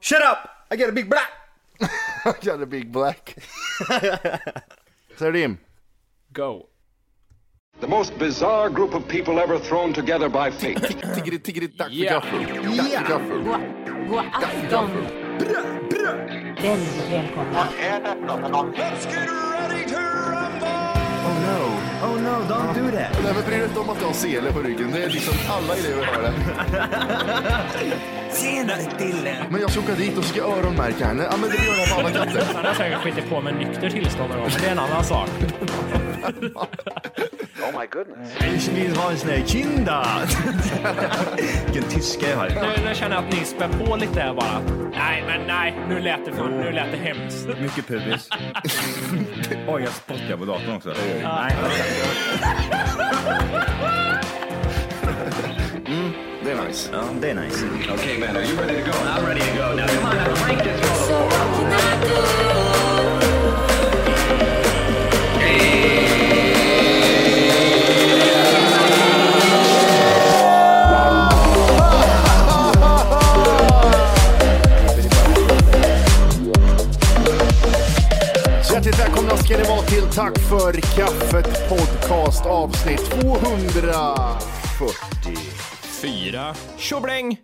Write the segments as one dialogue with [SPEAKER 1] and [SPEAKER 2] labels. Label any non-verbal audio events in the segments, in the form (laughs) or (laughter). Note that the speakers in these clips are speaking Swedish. [SPEAKER 1] Shut up! I got a big black!
[SPEAKER 2] (laughs) I got a big black. Salim.
[SPEAKER 3] Go.
[SPEAKER 4] The most bizarre group of people ever thrown together by fate.
[SPEAKER 2] Tiggeri, tiggeri, tack för
[SPEAKER 3] Ja.
[SPEAKER 2] gaffel. Tack för gaffel.
[SPEAKER 5] afton! Väldigt välkomna.
[SPEAKER 2] Oh no.
[SPEAKER 1] Oh no, don't do that!
[SPEAKER 2] Nej men bry dig inte om att jag har sele på ryggen. Det är liksom alla elever har det.
[SPEAKER 1] Senare Dille!
[SPEAKER 2] Men jag ska åka dit och ska öronmärka henne. Ja men det gör jag på alla katter.
[SPEAKER 3] Han har säkert skitit på med nykter tillstånd och men det är en annan sak.
[SPEAKER 1] Jag vill ha en sån här kinda! Vilken tyska jag har.
[SPEAKER 3] Nu, nu känner jag att ni spär på lite här bara. Nej, men nej. Nu lät det för, nu lät det hemskt.
[SPEAKER 6] Mycket (laughs) pubis. Oj, jag spottar på datorn också.
[SPEAKER 2] Det är nice.
[SPEAKER 6] Ja, det är nice.
[SPEAKER 4] okay, man, are you ready to go? I'm ready to go now.
[SPEAKER 2] Hjärtligt välkomna ska ni vara till Tack för kaffet podcast avsnitt 240.
[SPEAKER 3] Fyra. Tjobläng!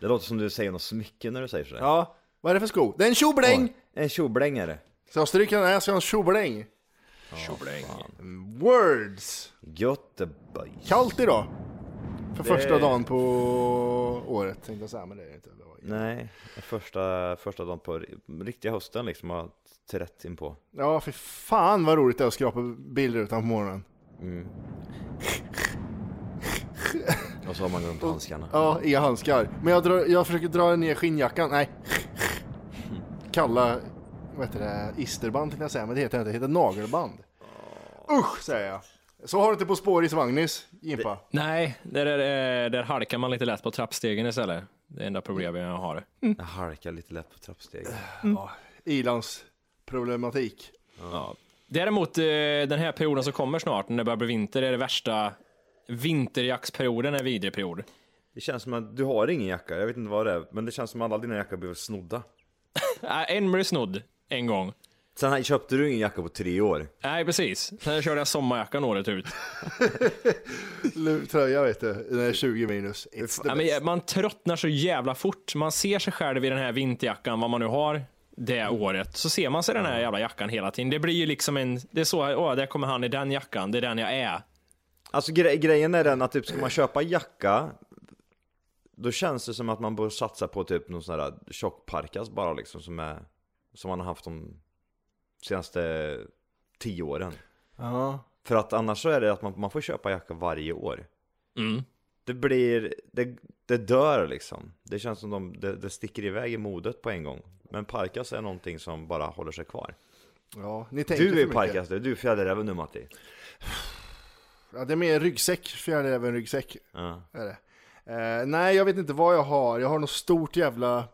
[SPEAKER 6] Det låter som du säger något smycke när du säger sådär.
[SPEAKER 2] Ja, vad är det för sko? Det är en tjobläng!
[SPEAKER 6] En tjoblängare.
[SPEAKER 2] Så jag stryker den här så jag har en tjobläng.
[SPEAKER 3] Tjobläng.
[SPEAKER 2] Words!
[SPEAKER 6] Göteborg.
[SPEAKER 2] Kallt idag. För första
[SPEAKER 6] Det-
[SPEAKER 2] dagen på året tänkte jag säga, men det är det inte. Det var ju-
[SPEAKER 6] Nej, första, första dagen på riktiga hösten liksom. Har trätt in på.
[SPEAKER 2] Ja, för fan vad roligt det är att skrapa bilrutan på morgonen.
[SPEAKER 6] Och så har man glömt handskarna.
[SPEAKER 2] Ja, inga handskar. Men jag, drar, jag försöker dra ner skinnjackan. Nej. Kalla, vad heter det, isterband tänkte jag säga, men det heter inte. Det heter nagelband. Usch säger jag. Så har du inte På spåris Vagnis, Jimpa.
[SPEAKER 3] Nej, där, är det- där halkar man lite lätt på trappstegen istället. Det enda problemet jag har.
[SPEAKER 6] Jag halkar lite lätt på trappstegen.
[SPEAKER 2] Ilans problematik.
[SPEAKER 3] Ja. Däremot eh, den här perioden som kommer snart, när det börjar bli vinter, är det värsta vinterjaktsperioden är en vidrig period.
[SPEAKER 6] Det känns som att du har ingen jacka. Jag vet inte vad det är. Men det känns som att alla dina jackor blev snodda.
[SPEAKER 3] Äh, En blev snodd en gång.
[SPEAKER 6] Sen här köpte du ingen jacka på tre år.
[SPEAKER 3] Nej, precis. Sen körde jag sommarjackan året ut.
[SPEAKER 2] Lu- Tröja vet du, den är 20 minus. It's the
[SPEAKER 3] Ja,
[SPEAKER 2] best.
[SPEAKER 3] men man tröttnar så jävla fort. Man ser sig själv i den här vinterjackan, vad man nu har det året. Så ser man sig i den här jävla jackan hela tiden. Det blir ju liksom en... Det är så, åh, där kommer han i den jackan. Det är den jag är.
[SPEAKER 6] Alltså gre- grejen är den att typ ska man köpa jacka Då känns det som att man bör satsa på typ någon sån här tjockparkas bara liksom som är Som man har haft de senaste tio åren
[SPEAKER 2] Ja.
[SPEAKER 6] För att annars så är det att man, man får köpa jacka varje år
[SPEAKER 3] Mm.
[SPEAKER 6] Det blir, det, det dör liksom Det känns som de, det, det sticker iväg i modet på en gång Men parkas är någonting som bara håller sig kvar
[SPEAKER 2] Ja, ni tänker för
[SPEAKER 6] Du är
[SPEAKER 2] mycket.
[SPEAKER 6] parkas du, du är fjäderräven nu Matti
[SPEAKER 2] Ja, det är mer en ryggsäck, fjärde även ryggsäck.
[SPEAKER 6] ja.
[SPEAKER 2] Är det. Eh, nej, jag vet inte vad jag har. Jag har något stort jävla... eh,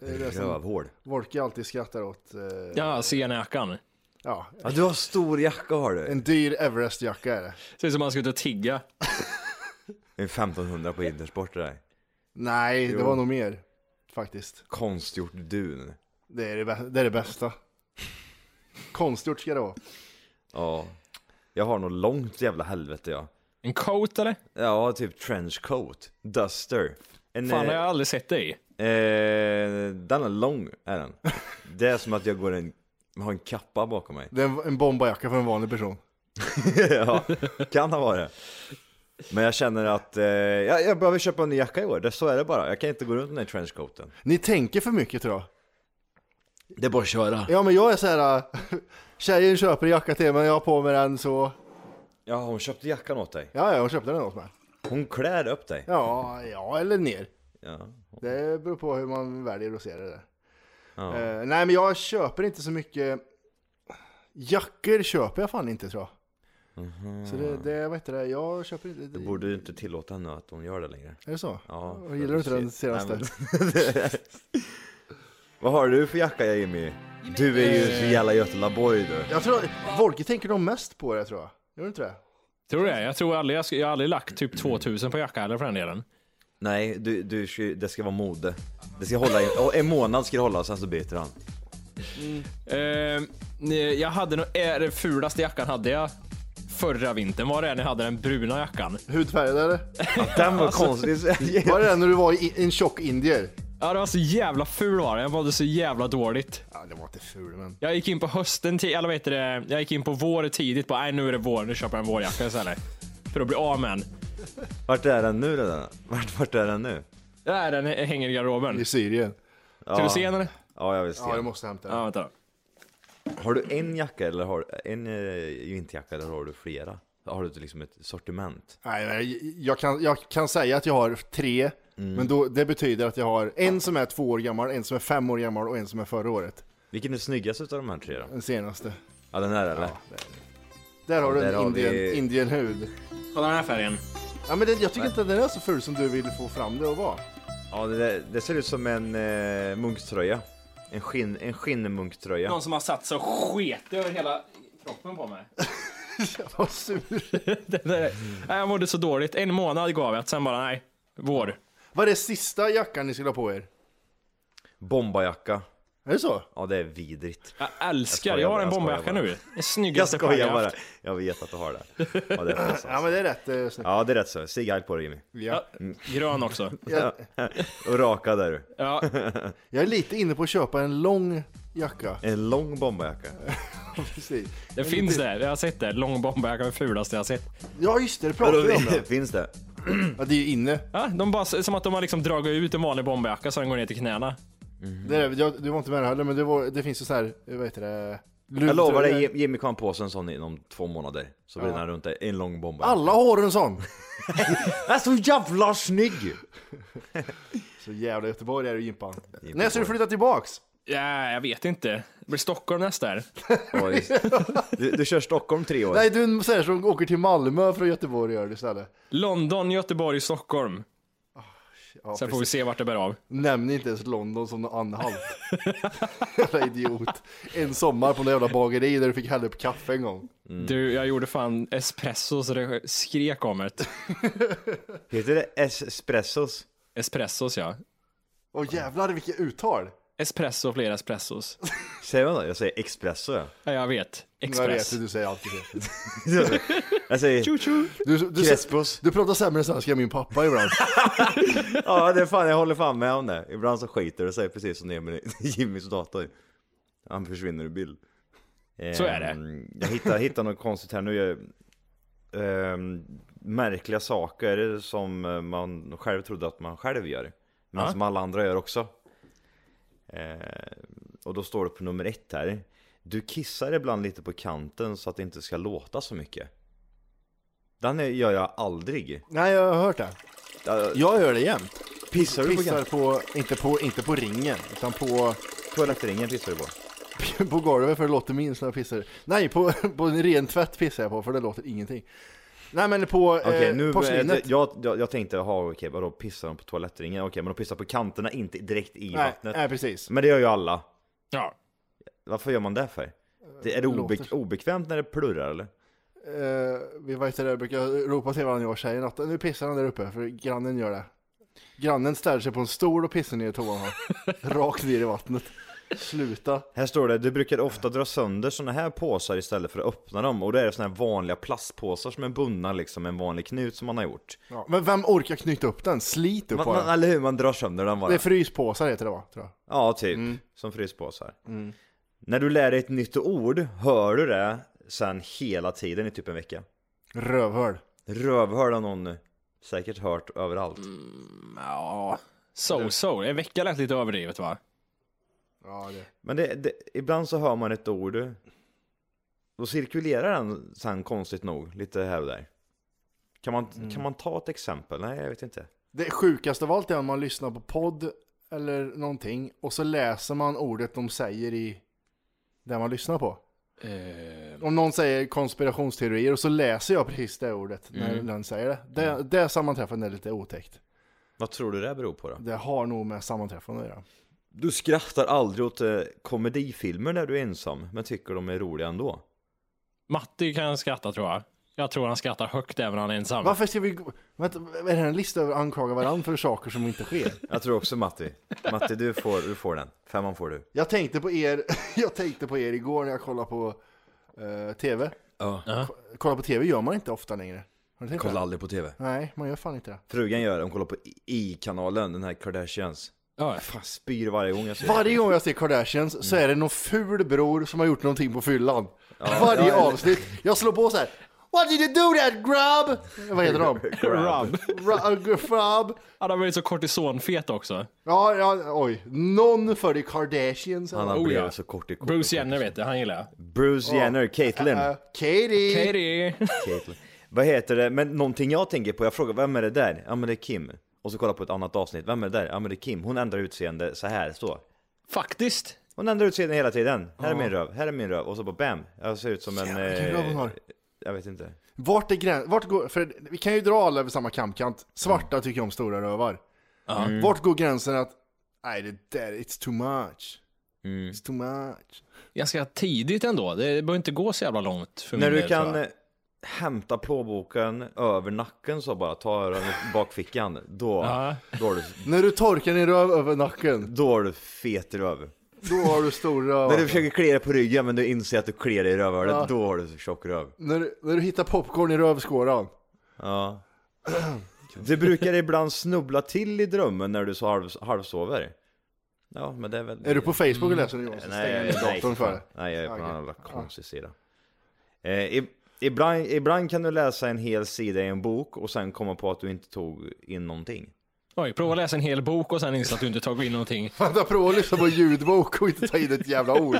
[SPEAKER 2] det som
[SPEAKER 6] Rövhål
[SPEAKER 2] Wolke alltid skrattar åt. Eh, ja.
[SPEAKER 3] Ja, senjackan.
[SPEAKER 6] Ja du har stor jacka har du
[SPEAKER 2] En dyr Everest-jacka är det.
[SPEAKER 3] Ser ut som man ska ut och tigga.
[SPEAKER 6] Det är 1500 på Intersport det där.
[SPEAKER 2] Nej, det
[SPEAKER 6] Jo.
[SPEAKER 2] var nog mer. Faktiskt.
[SPEAKER 6] Konstgjort dun.
[SPEAKER 2] Det är det, bä- det, är det bästa. Konstgjort ska det vara.
[SPEAKER 6] Ja. Jag har nog långt jävla helvete jag.
[SPEAKER 3] En coat eller?
[SPEAKER 6] Ja, typ trenchcoat, duster. En,
[SPEAKER 3] Fan,
[SPEAKER 6] eh,
[SPEAKER 3] har jag aldrig sett dig.
[SPEAKER 6] eh, den är lång, är den. Det är som att jag går en, har en kappa bakom (laughs) mig.
[SPEAKER 2] Det är en, en bombajacka för en vanlig person.
[SPEAKER 6] ja, kan ha varit. Men jag känner att eh, jag, jag behöver köpa en ny jacka i år, det, så är det bara. Jag kan inte gå runt med den här trenchcoaten.
[SPEAKER 2] Ni tänker för mycket tror jag.
[SPEAKER 6] Det är bara att köra.
[SPEAKER 2] Ja men jag är så här. äh, (laughs) tjejen köper en jacka till mig, jag har på mig den så,
[SPEAKER 6] Ja, hon köpte jackan åt dig.
[SPEAKER 2] ja ja hon köpte den åt mig.
[SPEAKER 6] Hon klär upp dig.
[SPEAKER 2] Ja, ja eller ner.
[SPEAKER 6] Ja.
[SPEAKER 2] Det beror på hur man väljer att se det där.
[SPEAKER 6] Ja.
[SPEAKER 2] Eh, nej men jag köper inte så mycket, jackor köper jag fan inte tror jag. Så det, det, vad heter det, jag köper inte.
[SPEAKER 6] Du Mhm. borde ju inte tillåta henne att hon gör det längre.
[SPEAKER 2] Är det så?
[SPEAKER 6] Ja,
[SPEAKER 2] Och gillar du inte den senaste?
[SPEAKER 6] Nej, men-
[SPEAKER 2] (laughs)
[SPEAKER 6] Vad har du för jacka Jimmy? Du är ju så jävla Götelaborg du.
[SPEAKER 2] Jag tror, Volke tänker nog mest på det tror jag. Gör du inte det?
[SPEAKER 3] Tror du det? Jag tror aldrig jag, sk- jag har aldrig lagt typ 2000 på jacka eller för den delen.
[SPEAKER 6] Nej, du, du, ska- det ska vara mode. Det ska hålla i, och en månad ska det hålla, sen så byter han.
[SPEAKER 3] Eh, nej, jag hade nog, eh, den fulaste jackan hade jag förra vintern. Var det när jag hade den bruna jackan?
[SPEAKER 2] Hudfärgad eller?
[SPEAKER 6] Den (laughs) var konstig.
[SPEAKER 2] Var det den när du var i, en tjock indier?
[SPEAKER 3] Ja, det var så jävla ful var den. Jag mådde så jävla dåligt.
[SPEAKER 2] Ja, det var inte ful men.
[SPEAKER 3] Jag gick in på hösten, ti- eller vad heter det? Jag gick in på vår tidigt. Bara, nej nu är det vår, nu köper jag en vårjacka istället. För att bli av med den.
[SPEAKER 6] Vart är den nu redan? Vart, vart är den nu?
[SPEAKER 3] Där den eh, hänger i garderoben.
[SPEAKER 2] I Syrien.
[SPEAKER 3] Ska du se den eller?
[SPEAKER 6] Ja, jag vill se.
[SPEAKER 2] Ja, jag måste hämta den.
[SPEAKER 3] Ja, vänta.
[SPEAKER 6] Har du en jacka eller har en eh, vinterjacka eller har du flera? Har du liksom ett sortiment?
[SPEAKER 2] Nej, nej, jag, kan, jag kan säga att jag har tre,
[SPEAKER 6] Mm.
[SPEAKER 2] men då, det betyder att jag har en som är två år gammal, en som är fem år gammal och en som är förra året.
[SPEAKER 6] Vilken är snyggast utav de här tre då?
[SPEAKER 2] Den senaste.
[SPEAKER 6] Ja, den här eller?
[SPEAKER 2] Där har du
[SPEAKER 6] Där
[SPEAKER 2] en
[SPEAKER 6] har
[SPEAKER 2] indien,
[SPEAKER 6] vi-
[SPEAKER 2] indienhud.
[SPEAKER 3] Kolla den här färgen.
[SPEAKER 2] Ja, men det, jag tycker inte att den är så ful som du vill få fram det att vara. (laughs)
[SPEAKER 6] Ja, det, där- det ser ut som en eh, munktröja. En, skinn, en skinnmunktröja.
[SPEAKER 3] Någon som har satt så sket över hela kroppen på mig.
[SPEAKER 2] Vad sur.
[SPEAKER 3] Det där- (laughs) Nej, jag mådde så dåligt. En månad gav jag, sen bara nej, vår.
[SPEAKER 2] Vad är det sista jackan ni skulle ha på er?
[SPEAKER 6] Bombajacka.
[SPEAKER 2] Är det så?
[SPEAKER 6] Ja, det är vidrigt.
[SPEAKER 3] Jag
[SPEAKER 6] Jag
[SPEAKER 3] älskar,
[SPEAKER 6] skojar
[SPEAKER 3] jag har
[SPEAKER 6] bara,
[SPEAKER 3] en
[SPEAKER 6] jag
[SPEAKER 3] bomberjacka
[SPEAKER 6] skojar bara.
[SPEAKER 3] nu. Den
[SPEAKER 6] Jag
[SPEAKER 3] snyggaste färgen
[SPEAKER 6] skojar
[SPEAKER 3] jag
[SPEAKER 6] bara.
[SPEAKER 3] haft.
[SPEAKER 6] Jag vet att du har det. Ja, det är
[SPEAKER 2] Ja,
[SPEAKER 6] fantastiskt.
[SPEAKER 2] men det är rätt eh, snyggt.
[SPEAKER 6] Ja, det är rätt så. Sig allt på dig Jimmy.
[SPEAKER 2] Ja.
[SPEAKER 3] Grön också.
[SPEAKER 6] Och raka där du.
[SPEAKER 3] Ja,
[SPEAKER 2] Jag är lite inne på att köpa en lång
[SPEAKER 6] (laughs)
[SPEAKER 2] jacka.
[SPEAKER 6] En lång bombajacka.
[SPEAKER 2] Precis.
[SPEAKER 3] det
[SPEAKER 6] Mm.
[SPEAKER 3] finns det. Jag har sett det. Lång bomberjacka är det fulaste jag har sett.
[SPEAKER 2] Ja, just det, det pratade vi om. då.
[SPEAKER 6] Finns det?
[SPEAKER 2] Ja, det är ju inne.
[SPEAKER 3] Ja, de bara, som att de har liksom dragit ut en vanlig bomberjacka så den går ner till knäna.
[SPEAKER 2] Det är, jag, du var inte med heller, men det, var, det finns ju så här, eh, vad heter det?
[SPEAKER 6] Jag lovar dig, Jim- Jimmy kan på sig en sån inom två månader. Så blir den runt dig. En lång bombajacka.
[SPEAKER 2] Alla har en sån!
[SPEAKER 6] Den är så jävla snygg!
[SPEAKER 2] Så jävla Göteborg är du Jimpan. När ska du flytta tillbaks?
[SPEAKER 3] Ja, jag vet inte. Det blir Stockholm nästa här.
[SPEAKER 6] Oj. Du, du kör Stockholm tre år.
[SPEAKER 2] Nej, du är en sån här som åker till Malmö från Göteborg gör du istället.
[SPEAKER 3] London, Göteborg, Stockholm.
[SPEAKER 6] Ah,
[SPEAKER 2] Ja,
[SPEAKER 3] Sen får vi
[SPEAKER 2] precis.
[SPEAKER 3] se vart det bär av.
[SPEAKER 2] Nämn inte ens London som någon anhalt. (laughs) jävla idiot. En sommar på något jävla bageri där du fick hälla upp kaffe en gång.
[SPEAKER 6] Mm.
[SPEAKER 3] Du, jag gjorde fan espresso så det skrek om ett.
[SPEAKER 6] Heter det espressos?
[SPEAKER 3] Espressos ja.
[SPEAKER 2] Åh jävlar vilket uttal!
[SPEAKER 3] Espresso, fler espressos.
[SPEAKER 6] Säger man då? Jag säger espresso ja.
[SPEAKER 3] Ja, jag vet.
[SPEAKER 2] Jag vet
[SPEAKER 3] Express.
[SPEAKER 2] hur du säger alltid det.
[SPEAKER 6] Jag säger
[SPEAKER 2] Du, du,
[SPEAKER 6] crespos.
[SPEAKER 2] du pratar sämre svenska än min pappa ibland.
[SPEAKER 6] Ja, det är fan, jag håller fan med om det. Ibland så skiter det sig precis som det är med (laughs) Jimmys dator. Han försvinner ur bild.
[SPEAKER 3] Så är det.
[SPEAKER 6] Ehm, Jag hittar, hittar något konstigt här nu. Jag, ehm, märkliga saker som man själv trodde att man själv gör. Men som alla andra gör också. Ehm, och då står det på nummer ett här. Du kissar ibland lite på kanten så att det inte ska låta så mycket. Den är- gör jag aldrig.
[SPEAKER 2] Nej, jag har hört det. Jag gör det jämt.
[SPEAKER 6] Pissar du på
[SPEAKER 2] Pissar
[SPEAKER 6] kanten?
[SPEAKER 2] på, inte på, inte på ringen, utan på,
[SPEAKER 6] Toalettringen pissar du på.
[SPEAKER 2] på golvet för det låter minst när jag pissar. Nej, på, på en ren tvätt pissar jag på för det låter ingenting. Nej men på
[SPEAKER 6] Okej,
[SPEAKER 2] eh,
[SPEAKER 6] nu,
[SPEAKER 2] porslinet.
[SPEAKER 6] jag, jag, jag tänkte, ha okej, vadå pissar de på toalettringen? Okej, men de pissar på kanterna, inte direkt i
[SPEAKER 2] nej, eh.
[SPEAKER 6] vattnet. Mm.
[SPEAKER 2] nej, precis.
[SPEAKER 6] Men det gör ju alla.
[SPEAKER 3] Ja.
[SPEAKER 6] Varför gör man det för? Det, är det obe,
[SPEAKER 2] Eh, låter-
[SPEAKER 6] obekvämt när det plurrar eller?
[SPEAKER 2] Eh, vi var inte där brukar ropa till varandra jag och tjejen att nu pissar han där uppe för
[SPEAKER 6] (laughs)
[SPEAKER 2] grannen gör det. Grannen ställer sig på en stol och pissar ner i toan här. Rakt ner i vattnet. Sluta.
[SPEAKER 6] Här står det, du brukar ofta dra sönder såna här påsar istället för att öppna dem. Och det är såna här vanliga plastpåsar som är bundna liksom med en vanlig knut som man har gjort.
[SPEAKER 2] Ja, men vem orkar knyta upp den? Slit upp
[SPEAKER 6] Man,
[SPEAKER 2] bara.
[SPEAKER 6] man, eller hur, man drar sönder den bara.
[SPEAKER 2] Det är Mm. fryspåsar heter det va? Tror jag.
[SPEAKER 6] Ja, typ. Som fryspåsar.
[SPEAKER 2] Mm.
[SPEAKER 6] När du lär dig ett nytt ord hör du det sen hela tiden i typ en vecka.
[SPEAKER 2] Rövhål.
[SPEAKER 6] Rövhörd har någon säkert hört överallt.
[SPEAKER 3] Ja, so so. En vecka lät lite överdrivet va?
[SPEAKER 2] Ja, det.
[SPEAKER 6] Men det, det, ibland så hör man ett ord. Då cirkulerar den sen konstigt nog lite här och där. Kan man, kan man ta ett exempel? Nej, jag vet inte.
[SPEAKER 2] det sjukaste av allt är om man lyssnar på podd eller någonting och så läser man ordet de säger i det man lyssnar på.
[SPEAKER 6] Eh.
[SPEAKER 2] Om någon säger konspirationsteorier och så läser jag precis det ordet
[SPEAKER 6] Mm.
[SPEAKER 2] när den säger det. Det, det sammanträffandet är lite otäckt.
[SPEAKER 6] Vad tror du det beror på då?
[SPEAKER 2] Det har nog med sammanträffande att göra.
[SPEAKER 6] Du skrattar aldrig åt eh, komedifilmer när du är ensam, men tycker de är roliga ändå.
[SPEAKER 3] Matti kan skratta tror jag. Jag tror han skrattar högt även när han är ensam.
[SPEAKER 2] Varför ska vi... gå- Vänta, är det här en lista över att anklaga varandra för saker som inte
[SPEAKER 6] (laughs)
[SPEAKER 2] sker?
[SPEAKER 6] Jag tror också (laughs) Matti. Matti, du får, du får den. Femman får du.
[SPEAKER 2] Jag tänkte på er, (laughs) jag tänkte på er igår när jag kollade på eh, TV.
[SPEAKER 6] Ja.
[SPEAKER 2] Ko- Kolla på TV gör man inte ofta längre. Har du tänkt på det?
[SPEAKER 6] aldrig på TV.
[SPEAKER 2] Nej, man gör fan inte det.
[SPEAKER 6] Frugan gör det, hon kollar på I-kanalen, den här Kardashians.
[SPEAKER 3] Ja.
[SPEAKER 6] Fan, spyr varje gång jag ser
[SPEAKER 2] Varje gång jag ser Kardashians så
[SPEAKER 6] Mm.
[SPEAKER 2] är det någon ful bror som har gjort någonting på fyllan. Varje avsnitt. Jag slår på så här. What did you do that grub? Vad heter
[SPEAKER 6] (laughs)
[SPEAKER 2] de? äh,
[SPEAKER 3] Rob.
[SPEAKER 2] Grub.
[SPEAKER 3] Han har blivit så kortisonfet också.
[SPEAKER 2] Ja, ja, oj. Någon för de Kardashians. Äh,
[SPEAKER 6] Han har (laughs)
[SPEAKER 3] Oh,
[SPEAKER 6] blivit
[SPEAKER 3] ja.
[SPEAKER 6] så kort i kort.
[SPEAKER 3] Bruce Jenner vet du, han gillar jag.
[SPEAKER 6] Bruce
[SPEAKER 3] (laughs)
[SPEAKER 6] Jenner, Caitlyn.
[SPEAKER 2] Eh, Katie.
[SPEAKER 3] Katie.
[SPEAKER 6] Caitlyn. Vad heter det? Men någonting jag tänker på, jag frågar vem är det där? Ja men det är Kim. Och så kollar jag på ett annat avsnitt, vem är det där? Ja men det är Kim. Hon ändrar utseende så här, så.
[SPEAKER 3] Faktiskt.
[SPEAKER 6] Hon ändrar utseende hela tiden. Här är min röv, här är min röv. Och så bara bam, jag ser ut som en... eh,
[SPEAKER 2] Jävlar, vilken röv hon har.
[SPEAKER 6] jag vet inte.
[SPEAKER 2] Vart är gränsen? Vart går... För vi kan ju dra alla över samma kamkant. Svarta
[SPEAKER 6] Mm.
[SPEAKER 2] tycker om stora rövar. Vart går gränsen att... Nej, det där, it's too much.
[SPEAKER 6] Mm.
[SPEAKER 2] It's too much.
[SPEAKER 3] Ganska tidigt ändå. Det behöver inte gå så jävla långt för
[SPEAKER 6] När
[SPEAKER 3] min
[SPEAKER 6] du
[SPEAKER 3] del,
[SPEAKER 6] kan
[SPEAKER 3] tror jag.
[SPEAKER 6] eh, hämta plånboken över nacken så bara, ta den i bakfickan. Då,
[SPEAKER 3] Ja.
[SPEAKER 6] då, har du,
[SPEAKER 2] När du torkar din röv över nacken,
[SPEAKER 6] då har du fet röv.
[SPEAKER 2] då har du stor röv.
[SPEAKER 6] När du försöker klia dig på ryggen men du inser att du kliar dig i rövhålet, då har du så tjock röv.
[SPEAKER 2] När, du- när du hittar popcorn i rövskåran.
[SPEAKER 6] Ja. Du brukar ibland snubbla till i drömmen när du så halv, halvsover. Ja, men det är väl...
[SPEAKER 2] Är du på Facebook och läser nu Jonas? Stänger
[SPEAKER 6] Nej,
[SPEAKER 2] ner
[SPEAKER 6] nej,
[SPEAKER 2] datorn för det.
[SPEAKER 6] nej, jag är på en
[SPEAKER 2] Okej.
[SPEAKER 6] annan konstig sida. Eh, i- ibland, ibland kan du läsa en hel sida i en bok och sen komma på att du inte tog in någonting.
[SPEAKER 3] Oj, prova att läsa en hel bok och sen inse att du inte tagit in någonting.
[SPEAKER 2] Vänta, prova att lyssna på ljudbok och inte ta in ett jävla ord.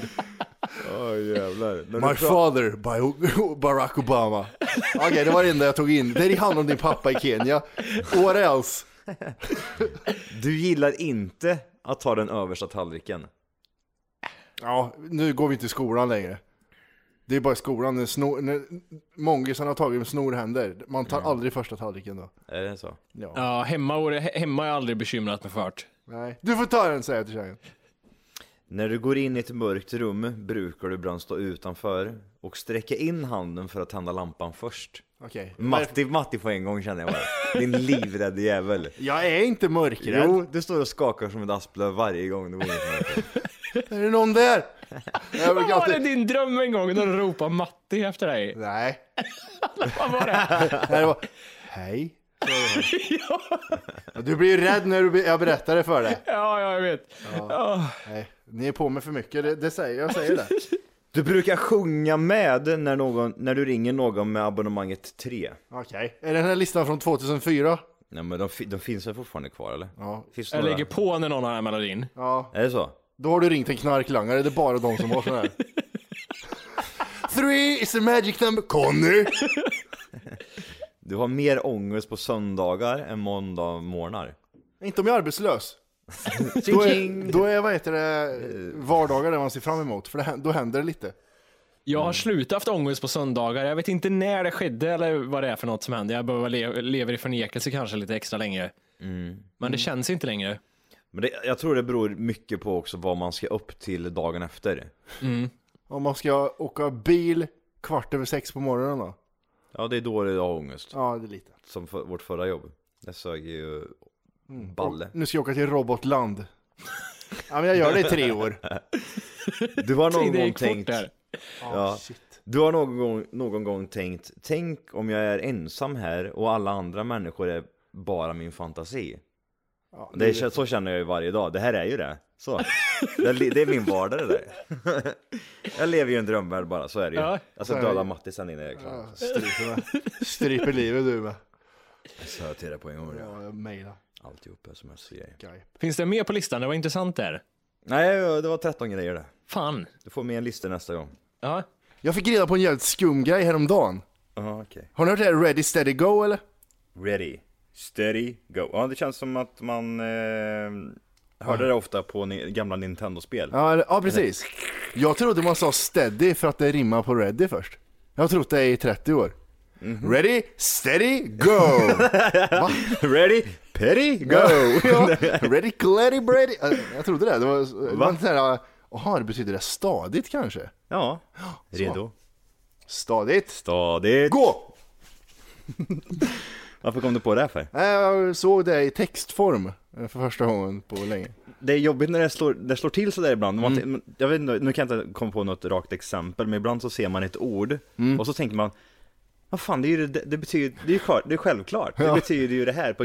[SPEAKER 6] Åh jävlar. (laughs) När
[SPEAKER 2] My father by Barack Obama. Okej, det var det enda jag tog in. Det är hand om din pappa i Kenya. What else?
[SPEAKER 6] du gillar inte att ta den översta tallriken.
[SPEAKER 2] Ja, nu går vi inte i skolan längre. Det är bara i skolan när, snor, när mångisen har tagit med snorhänder. Man tar
[SPEAKER 6] Mm.
[SPEAKER 2] aldrig första tallriken då.
[SPEAKER 6] Är det så?
[SPEAKER 3] Ja, hemma, var det- he- hemma har jag aldrig bekymrat mig för.
[SPEAKER 2] Nej. Du får ta den säger jag till tjejen.
[SPEAKER 6] När du går in i ett mörkt rum brukar du ibland stå utanför och sträcka in handen för att tända lampan först.
[SPEAKER 2] Okej.
[SPEAKER 6] Matti, Matti på en gång känner jag bara. Din livrädde jävel.
[SPEAKER 2] Jag är inte mörkrädd.
[SPEAKER 6] Jo, du står och skakar som ett asplöv varje gång du går in i ett mörkt rum.
[SPEAKER 2] Är det någon där? Jag brukar
[SPEAKER 3] Vad var det
[SPEAKER 2] alltid...
[SPEAKER 3] din dröm en gång när du ropade Matti efter dig?
[SPEAKER 2] (laughs) Nej.
[SPEAKER 3] Vad var det? (laughs)
[SPEAKER 2] Nej, det var... Hej. Du blir ju rädd när du be- jag berättar det för dig.
[SPEAKER 3] Ja, ja, jag vet. Ja.
[SPEAKER 2] Nej, ni är på mig för mycket, det, det säger, jag säger det.
[SPEAKER 6] Du brukar sjunga med när, någon, när du ringer någon med abonnemanget 3.
[SPEAKER 2] Okej. Är det den här listan från 2004?
[SPEAKER 6] Nej men de, fi- de finns väl fortfarande kvar eller?
[SPEAKER 2] Ja.
[SPEAKER 6] Finns det
[SPEAKER 3] Jag
[SPEAKER 6] några?
[SPEAKER 3] lägger på när någon har den här melodin.
[SPEAKER 2] Ja.
[SPEAKER 6] Är det så?
[SPEAKER 2] Då har du ringt en knarklangare, det är bara de som har sån här. Three is a magic number, Conny!
[SPEAKER 6] Du har mer ångest på söndagar än måndagmorgnar.
[SPEAKER 2] Inte om jag är arbetslös. Då är, då är vad heter det, vardagar det man ser fram emot, för det, hä- då händer det lite.
[SPEAKER 3] Jag har slutat haft ångest på söndagar. Jag vet inte när det skedde eller vad det är för något som hände. Jag behöver le- lever i förnekelse kanske lite extra länge. Men det känns inte längre.
[SPEAKER 6] Men det, jag tror det beror mycket på också vad man ska upp till dagen efter.
[SPEAKER 3] Mm.
[SPEAKER 2] Om man ska åka bil kvart över sex på morgonen då?
[SPEAKER 6] Ja, det är då det är ångest.
[SPEAKER 2] Ja, det är lite.
[SPEAKER 6] Som för, vårt förra jobb. Det sög ju balle. (laughs)
[SPEAKER 2] Nu ska jag åka till Robotland. Ja, men jag gör det i tre år.
[SPEAKER 6] Du har någon
[SPEAKER 3] Det
[SPEAKER 6] gång
[SPEAKER 3] gick fort
[SPEAKER 6] tänkt...
[SPEAKER 3] där.
[SPEAKER 6] Ja. Du har någon gång, någon gång tänkt, tänk om jag är ensam här och alla andra människor är bara min fantasi.
[SPEAKER 2] Ja,
[SPEAKER 6] Det är, så känner jag ju varje dag, det här är ju det. (laughs) Så. Det, li- det är min vardag det där. (laughs) Jag lever ju i en drömvärld bara, så är det ju.
[SPEAKER 3] Ja.
[SPEAKER 6] Jag ska döda Mattis sen innan jag är klar.
[SPEAKER 2] Ja, stryper, med. stryper livet du med.
[SPEAKER 6] Så jag till det på en gång.
[SPEAKER 2] Ja, jag mejlar.
[SPEAKER 6] Alltihop sms grejer.
[SPEAKER 2] Skype.
[SPEAKER 3] Finns det mer på listan? Det var intressant där.
[SPEAKER 6] Nej, det var 13 grejer det.
[SPEAKER 3] Fan.
[SPEAKER 6] Du får med en lista nästa gång.
[SPEAKER 3] Ja.
[SPEAKER 2] Jag fick reda på en jävligt skum grej häromdagen.
[SPEAKER 6] Ja, okej.
[SPEAKER 2] Har ni hört det här Ready Steady Go eller?
[SPEAKER 6] Ready, steady, go. Ja, det känns som att man eh, hörde det ofta på ni- gamla Nintendo-spel.
[SPEAKER 2] Ja, eller- ja precis. Jag trodde man sa steady för att det rimmar på ready först. Jag har trott det i 30 år. Ready, steady, go!
[SPEAKER 6] (laughs) Ready, petty,
[SPEAKER 2] Go!
[SPEAKER 6] go!
[SPEAKER 2] ja. Ready, claddy, bready. Ja, Jag trodde det. Det var, det var inte såhär, jaha det betyder det stadigt kanske?
[SPEAKER 6] Ja, redo.
[SPEAKER 2] Stadigt.
[SPEAKER 6] Stadigt.
[SPEAKER 2] Gå!
[SPEAKER 6] Varför kom du på det här för?
[SPEAKER 2] Nej, Eh, Jag såg det i textform eh, för första gången på länge.
[SPEAKER 6] Det är jobbigt när det slår, det slår till sådär ibland. Man, Jag vet inte, nu kan jag inte komma på något rakt exempel, men ibland så ser man ett ord och så tänker man vad fan, det, är ju, det, det betyder det är ju klart- det är självklart. Det betyder ju det här på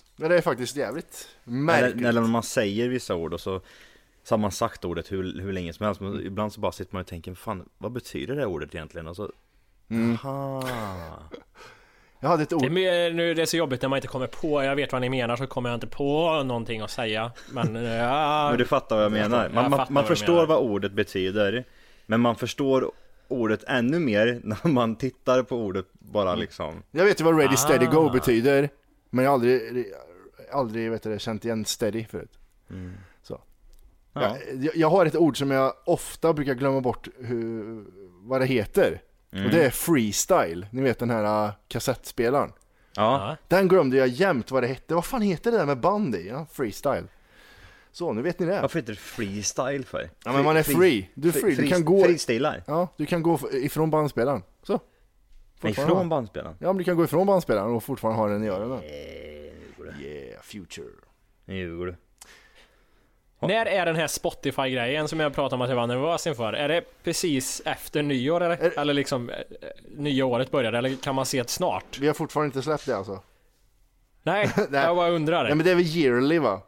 [SPEAKER 2] Men det är faktiskt jävligt märkligt.
[SPEAKER 6] Eller, eller när man säger vissa ord och så, så har man sagt ordet hur, hur länge som helst, men ibland så bara sitter man och tänker, fan, vad betyder det ordet egentligen? Och så,
[SPEAKER 2] Mm.
[SPEAKER 6] aha.
[SPEAKER 2] Jag hade ett
[SPEAKER 3] Det
[SPEAKER 2] ord.
[SPEAKER 3] är, mer- nu, det är så jobbigt när man inte kommer på. Jag vet vad ni menar så kommer jag inte på någonting att säga. (laughs) Men... eh, Ja,
[SPEAKER 6] Men du fattar vad jag menar. Man,
[SPEAKER 3] Jag
[SPEAKER 6] man,
[SPEAKER 3] fattar
[SPEAKER 6] man
[SPEAKER 3] vad du
[SPEAKER 6] förstår
[SPEAKER 3] menar.
[SPEAKER 6] vad ordet betyder, men man förstår ordet ännu mer (laughs) när man tittar på ordet
[SPEAKER 2] Mm.
[SPEAKER 6] bara liksom.
[SPEAKER 2] Jag vet ju vad ready, steady, go betyder. Men jag har aldrig, aldrig vet du, det, känt igen steady förut. Så.
[SPEAKER 6] Ja.
[SPEAKER 2] Jag, jag har ett ord som jag ofta brukar glömma bort hur, vad det heter.
[SPEAKER 6] Mm.
[SPEAKER 2] Och det är freestyle. Ni vet den här äh, kassettspelaren.
[SPEAKER 6] Ja.
[SPEAKER 2] Den glömde jag jämt vad det hette. Vad fan heter det där med band i? Ja, freestyle. Så, nu vet ni det.
[SPEAKER 6] Varför heter det freestyle för?
[SPEAKER 2] Ja, men man är free. Du är free. Du kan gå-
[SPEAKER 6] Freestylar?
[SPEAKER 2] Ja, du kan gå f- ifrån bandspelaren. Så.
[SPEAKER 6] Nej,
[SPEAKER 2] Fortfarande.
[SPEAKER 6] från bandspelaren?
[SPEAKER 2] Ja, men du kan gå ifrån bandspelaren och fortfarande ha den i öronen.
[SPEAKER 6] Eh,
[SPEAKER 2] Yeah, future.
[SPEAKER 6] Jo, du.
[SPEAKER 3] När är den här Spotify-grejen som jag pratade om att jag var nervös inför? Är det precis efter nyår eller?
[SPEAKER 2] Är-
[SPEAKER 3] Eller liksom eh, nya året började? Eller kan man se det snart?
[SPEAKER 2] Vi har fortfarande inte släppt det alltså.
[SPEAKER 3] Nej,
[SPEAKER 2] (laughs) Nej.
[SPEAKER 3] jag bara undrar.
[SPEAKER 2] Nej men det är väl yearly va?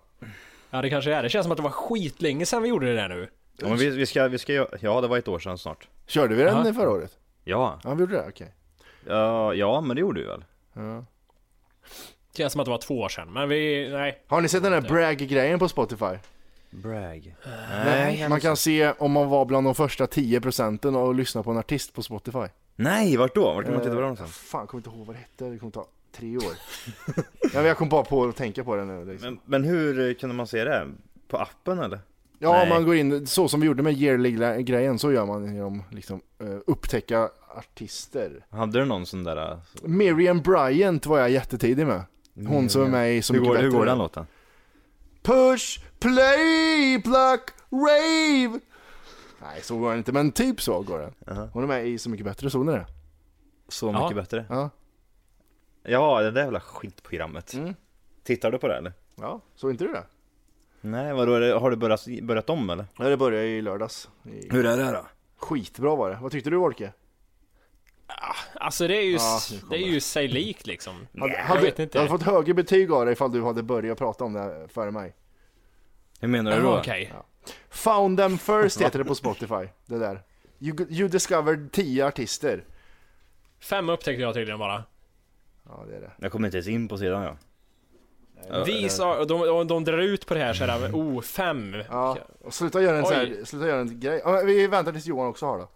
[SPEAKER 3] Ja det kanske är det. känns som att det var skitlänge sedan vi gjorde det där nu.
[SPEAKER 6] Ja, men vi, vi ska, vi ska, gö- ja det var ett år sedan snart.
[SPEAKER 2] Körde vi den förra året?
[SPEAKER 6] Ja,
[SPEAKER 2] Ja vi gjorde det, okej.
[SPEAKER 6] ja, ja men det gjorde vi väl?
[SPEAKER 3] Känns som att det var två år sedan. Men vi, nej.
[SPEAKER 2] Har ni sett den här brag-grejen på Spotify?
[SPEAKER 6] Brag.
[SPEAKER 2] Man kan se om man var bland de första 10 procenten och lyssna på en artist på Spotify.
[SPEAKER 6] Nej, vart då? Vart kan man titta på
[SPEAKER 2] Eh,
[SPEAKER 6] det någonstans?
[SPEAKER 2] Fan, jag kommer inte ihåg vad det hette, det kommer ta tre
[SPEAKER 6] (laughs)
[SPEAKER 2] år. ja, men jag kom bara på att tänka på det nu. Liksom.
[SPEAKER 6] Men, men hur eh, kunde man se det? På appen eller?
[SPEAKER 2] Ja,
[SPEAKER 6] Nej.
[SPEAKER 2] man går in, så som vi gjorde med yearly-grejen, så gör man genom liksom, eh, upptäcka artister.
[SPEAKER 6] Hade du någon sån där? eh,
[SPEAKER 2] Miriam Bryant var jag jättetidig med. Hon som är med i Så
[SPEAKER 6] Hur
[SPEAKER 2] mycket
[SPEAKER 6] går, hur
[SPEAKER 2] bättre.
[SPEAKER 6] går den låten?
[SPEAKER 2] Push, play, pluck, rave. Nej, så går den inte, men typ så går den. Hon är med i Så mycket bättre, såg ni det?
[SPEAKER 6] Så
[SPEAKER 3] Ja.
[SPEAKER 6] mycket bättre.
[SPEAKER 2] Ja.
[SPEAKER 6] Ja, det där jävla skitprogrammet.
[SPEAKER 2] Mm.
[SPEAKER 6] Tittar du på det eller?
[SPEAKER 2] Ja, såg inte du det?
[SPEAKER 6] Nej, vadå? är det- Har du börjat, börjat om eller?
[SPEAKER 2] Ja, det började i lördags. I-
[SPEAKER 6] Hur är det då?
[SPEAKER 2] Skitbra var det. Vad tyckte du Wolke?
[SPEAKER 3] Alltså det är ju,
[SPEAKER 2] Ja,
[SPEAKER 3] s-
[SPEAKER 2] nu kommer
[SPEAKER 3] det är ju sig likt liksom.
[SPEAKER 2] Hade,
[SPEAKER 3] jag
[SPEAKER 2] hade,
[SPEAKER 3] vet inte.
[SPEAKER 2] Jag hade fått högre betyg av dig ifall du hade börjat prata om det här före mig.
[SPEAKER 6] Hur menar
[SPEAKER 3] Ja,
[SPEAKER 6] du då?
[SPEAKER 3] Okej.
[SPEAKER 2] Found them first heter det på Spotify. Det där. You, you discovered 10 artister.
[SPEAKER 3] Fem upptäckte jag tydligen bara.
[SPEAKER 2] Ja, det är det.
[SPEAKER 6] Jag kommer inte ens in på sidan jag. Ja,
[SPEAKER 3] Vis, de, de, de drar ut på det här såhär, oh, fem.
[SPEAKER 2] Ja, och sluta göra en,
[SPEAKER 3] Oj.
[SPEAKER 2] så här, sluta göra en grej. Ja, men Vi väntar tills Johan också har då.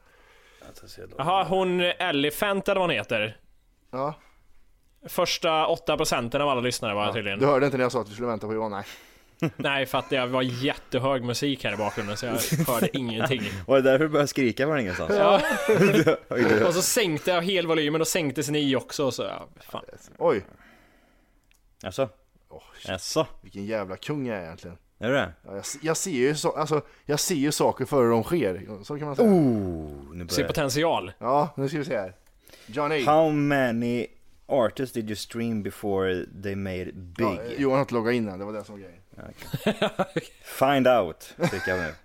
[SPEAKER 3] Jaha, hon Elephant eller vad hon heter.
[SPEAKER 2] Ja.
[SPEAKER 3] Första 8 procenten av alla lyssnare var jag tydligen.
[SPEAKER 2] Du hörde inte när jag sa att vi skulle vänta på Johan? Nej.
[SPEAKER 3] Nej, för att det var jättehög musik här i bakgrunden så jag hörde ingenting.
[SPEAKER 6] Var det därför du började skrika från ingenstans?
[SPEAKER 3] Ja.
[SPEAKER 6] Oj, du.
[SPEAKER 3] Och så sänkte jag helvolymen och sänktes ni också och så, ja, fan.
[SPEAKER 2] Oj,
[SPEAKER 6] Jaså? Jaså?
[SPEAKER 2] vilken jävla kung jag är egentligen.
[SPEAKER 6] Är du det?
[SPEAKER 2] Ja, jag, jag, ser ju så, alltså, jag ser ju saker före de sker, så kan man säga.
[SPEAKER 6] Oh, nu
[SPEAKER 3] Se
[SPEAKER 6] börjar det.
[SPEAKER 3] potential.
[SPEAKER 2] Ja, nu ska vi se här. Johnny.
[SPEAKER 6] How many artists did you stream before they made it big?
[SPEAKER 2] Ja, Johan har inte loggat in än, det var det som var grejen.
[SPEAKER 6] Find out, tycker jag nu.
[SPEAKER 2] (laughs)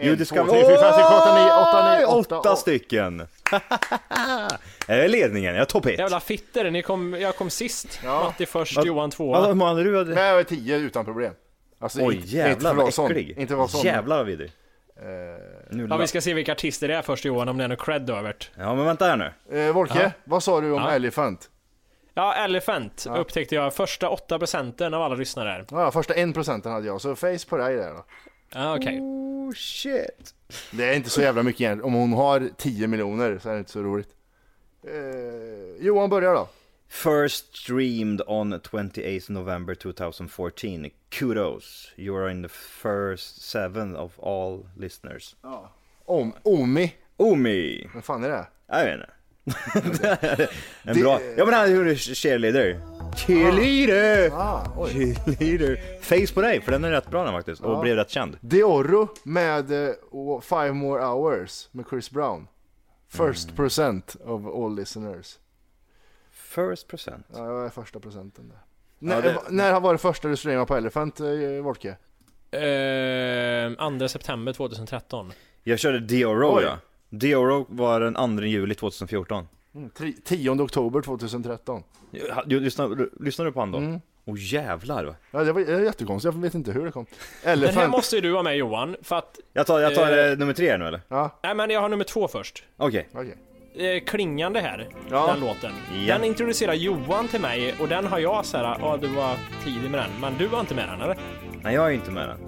[SPEAKER 2] En, två, tre, fyra, fem, sex, sju, åtta, nio, åtta, nio,
[SPEAKER 6] Oj,
[SPEAKER 2] åtta,
[SPEAKER 6] åtta
[SPEAKER 2] åtta.
[SPEAKER 6] stycken! (laughs) jag är ledningen, jag är topp ett.
[SPEAKER 3] Jävla fitter, ni kom, jag kom sist.
[SPEAKER 2] Ja.
[SPEAKER 3] Matti först,
[SPEAKER 6] Vad-
[SPEAKER 3] Johan
[SPEAKER 6] Ja,
[SPEAKER 3] tvåa.
[SPEAKER 6] vad hade du? Hade...
[SPEAKER 2] Men jag är tio utan problem. Alltså,
[SPEAKER 6] Oj
[SPEAKER 2] inte- inte för
[SPEAKER 6] jävlar
[SPEAKER 2] att vara
[SPEAKER 6] vad
[SPEAKER 2] sån.
[SPEAKER 6] äcklig!
[SPEAKER 2] Inte för att vara sån. Eh.
[SPEAKER 6] Jävlar vad vidrig! Nu
[SPEAKER 3] Ja,
[SPEAKER 6] la-
[SPEAKER 3] vi ska se vilka artister det är först Johan, om det är något cred övert.
[SPEAKER 6] ja men vänta här nu.
[SPEAKER 2] Eh, Volke, vad sa du om Elephant?
[SPEAKER 3] Ja, Elephant upptäckte jag första 8 procenten av alla lyssnare här.
[SPEAKER 2] Ja, första 1% hade jag, så face på dig där då.
[SPEAKER 3] Ja, okej.
[SPEAKER 6] Oh shit!
[SPEAKER 2] Det är inte så jävla mycket egentligen. Om hon har 10 miljoner så är det inte så roligt. Eh, Johan börjar då.
[SPEAKER 6] First streamed on 28th November 2014. Kudos! You are in the first seven of all listeners.
[SPEAKER 2] Om, Omi.
[SPEAKER 6] Omi!
[SPEAKER 2] Vad fan är det?
[SPEAKER 6] Jag vet inte. (laughs) en bra... Ja men han gjorde cheerleader. Cheerleader!
[SPEAKER 2] Ah, oj.
[SPEAKER 6] Cheerleader! Face på dig, för den är rätt bra den faktiskt. Och blev rätt känd.
[SPEAKER 2] Deoro med eh, och Five More Hours med Chris Brown. First percent of all listeners.
[SPEAKER 6] First percent.
[SPEAKER 2] Ja, jag är första procenten där.
[SPEAKER 6] Ja,
[SPEAKER 2] När, eh,
[SPEAKER 6] det-
[SPEAKER 2] när var det första du streamade på Elephant, eh, Volke?
[SPEAKER 3] Eh, 2 september 2013.
[SPEAKER 6] Jag körde Dioro
[SPEAKER 2] Oj.
[SPEAKER 6] ja. Dioro var den 2 juli 2014.
[SPEAKER 2] Mm, tri- 10 oktober 2013.
[SPEAKER 6] Ja, du- Lyssnar, lyssnar du på han då? Åh
[SPEAKER 2] Mm.
[SPEAKER 6] jävlar! va.
[SPEAKER 2] Ja, det var det är jättekonstigt, jag vet inte hur det kom.
[SPEAKER 3] Den här
[SPEAKER 2] Elephant.
[SPEAKER 3] måste ju du vara med Johan, för att...
[SPEAKER 6] Jag tar, jag tar
[SPEAKER 3] Eh.
[SPEAKER 6] eh, nummer tre nu eller?
[SPEAKER 2] Ja,
[SPEAKER 3] Nej men jag har nummer två först.
[SPEAKER 6] Okej.
[SPEAKER 2] okej.
[SPEAKER 3] Eh, klingande här,
[SPEAKER 2] Ja.
[SPEAKER 3] den låten.
[SPEAKER 6] Ja.
[SPEAKER 3] Den introducerar Johan till mig och den har jag såhär, ja du var tidig med den, men du var inte med den eller?
[SPEAKER 6] Nej jag är inte med den.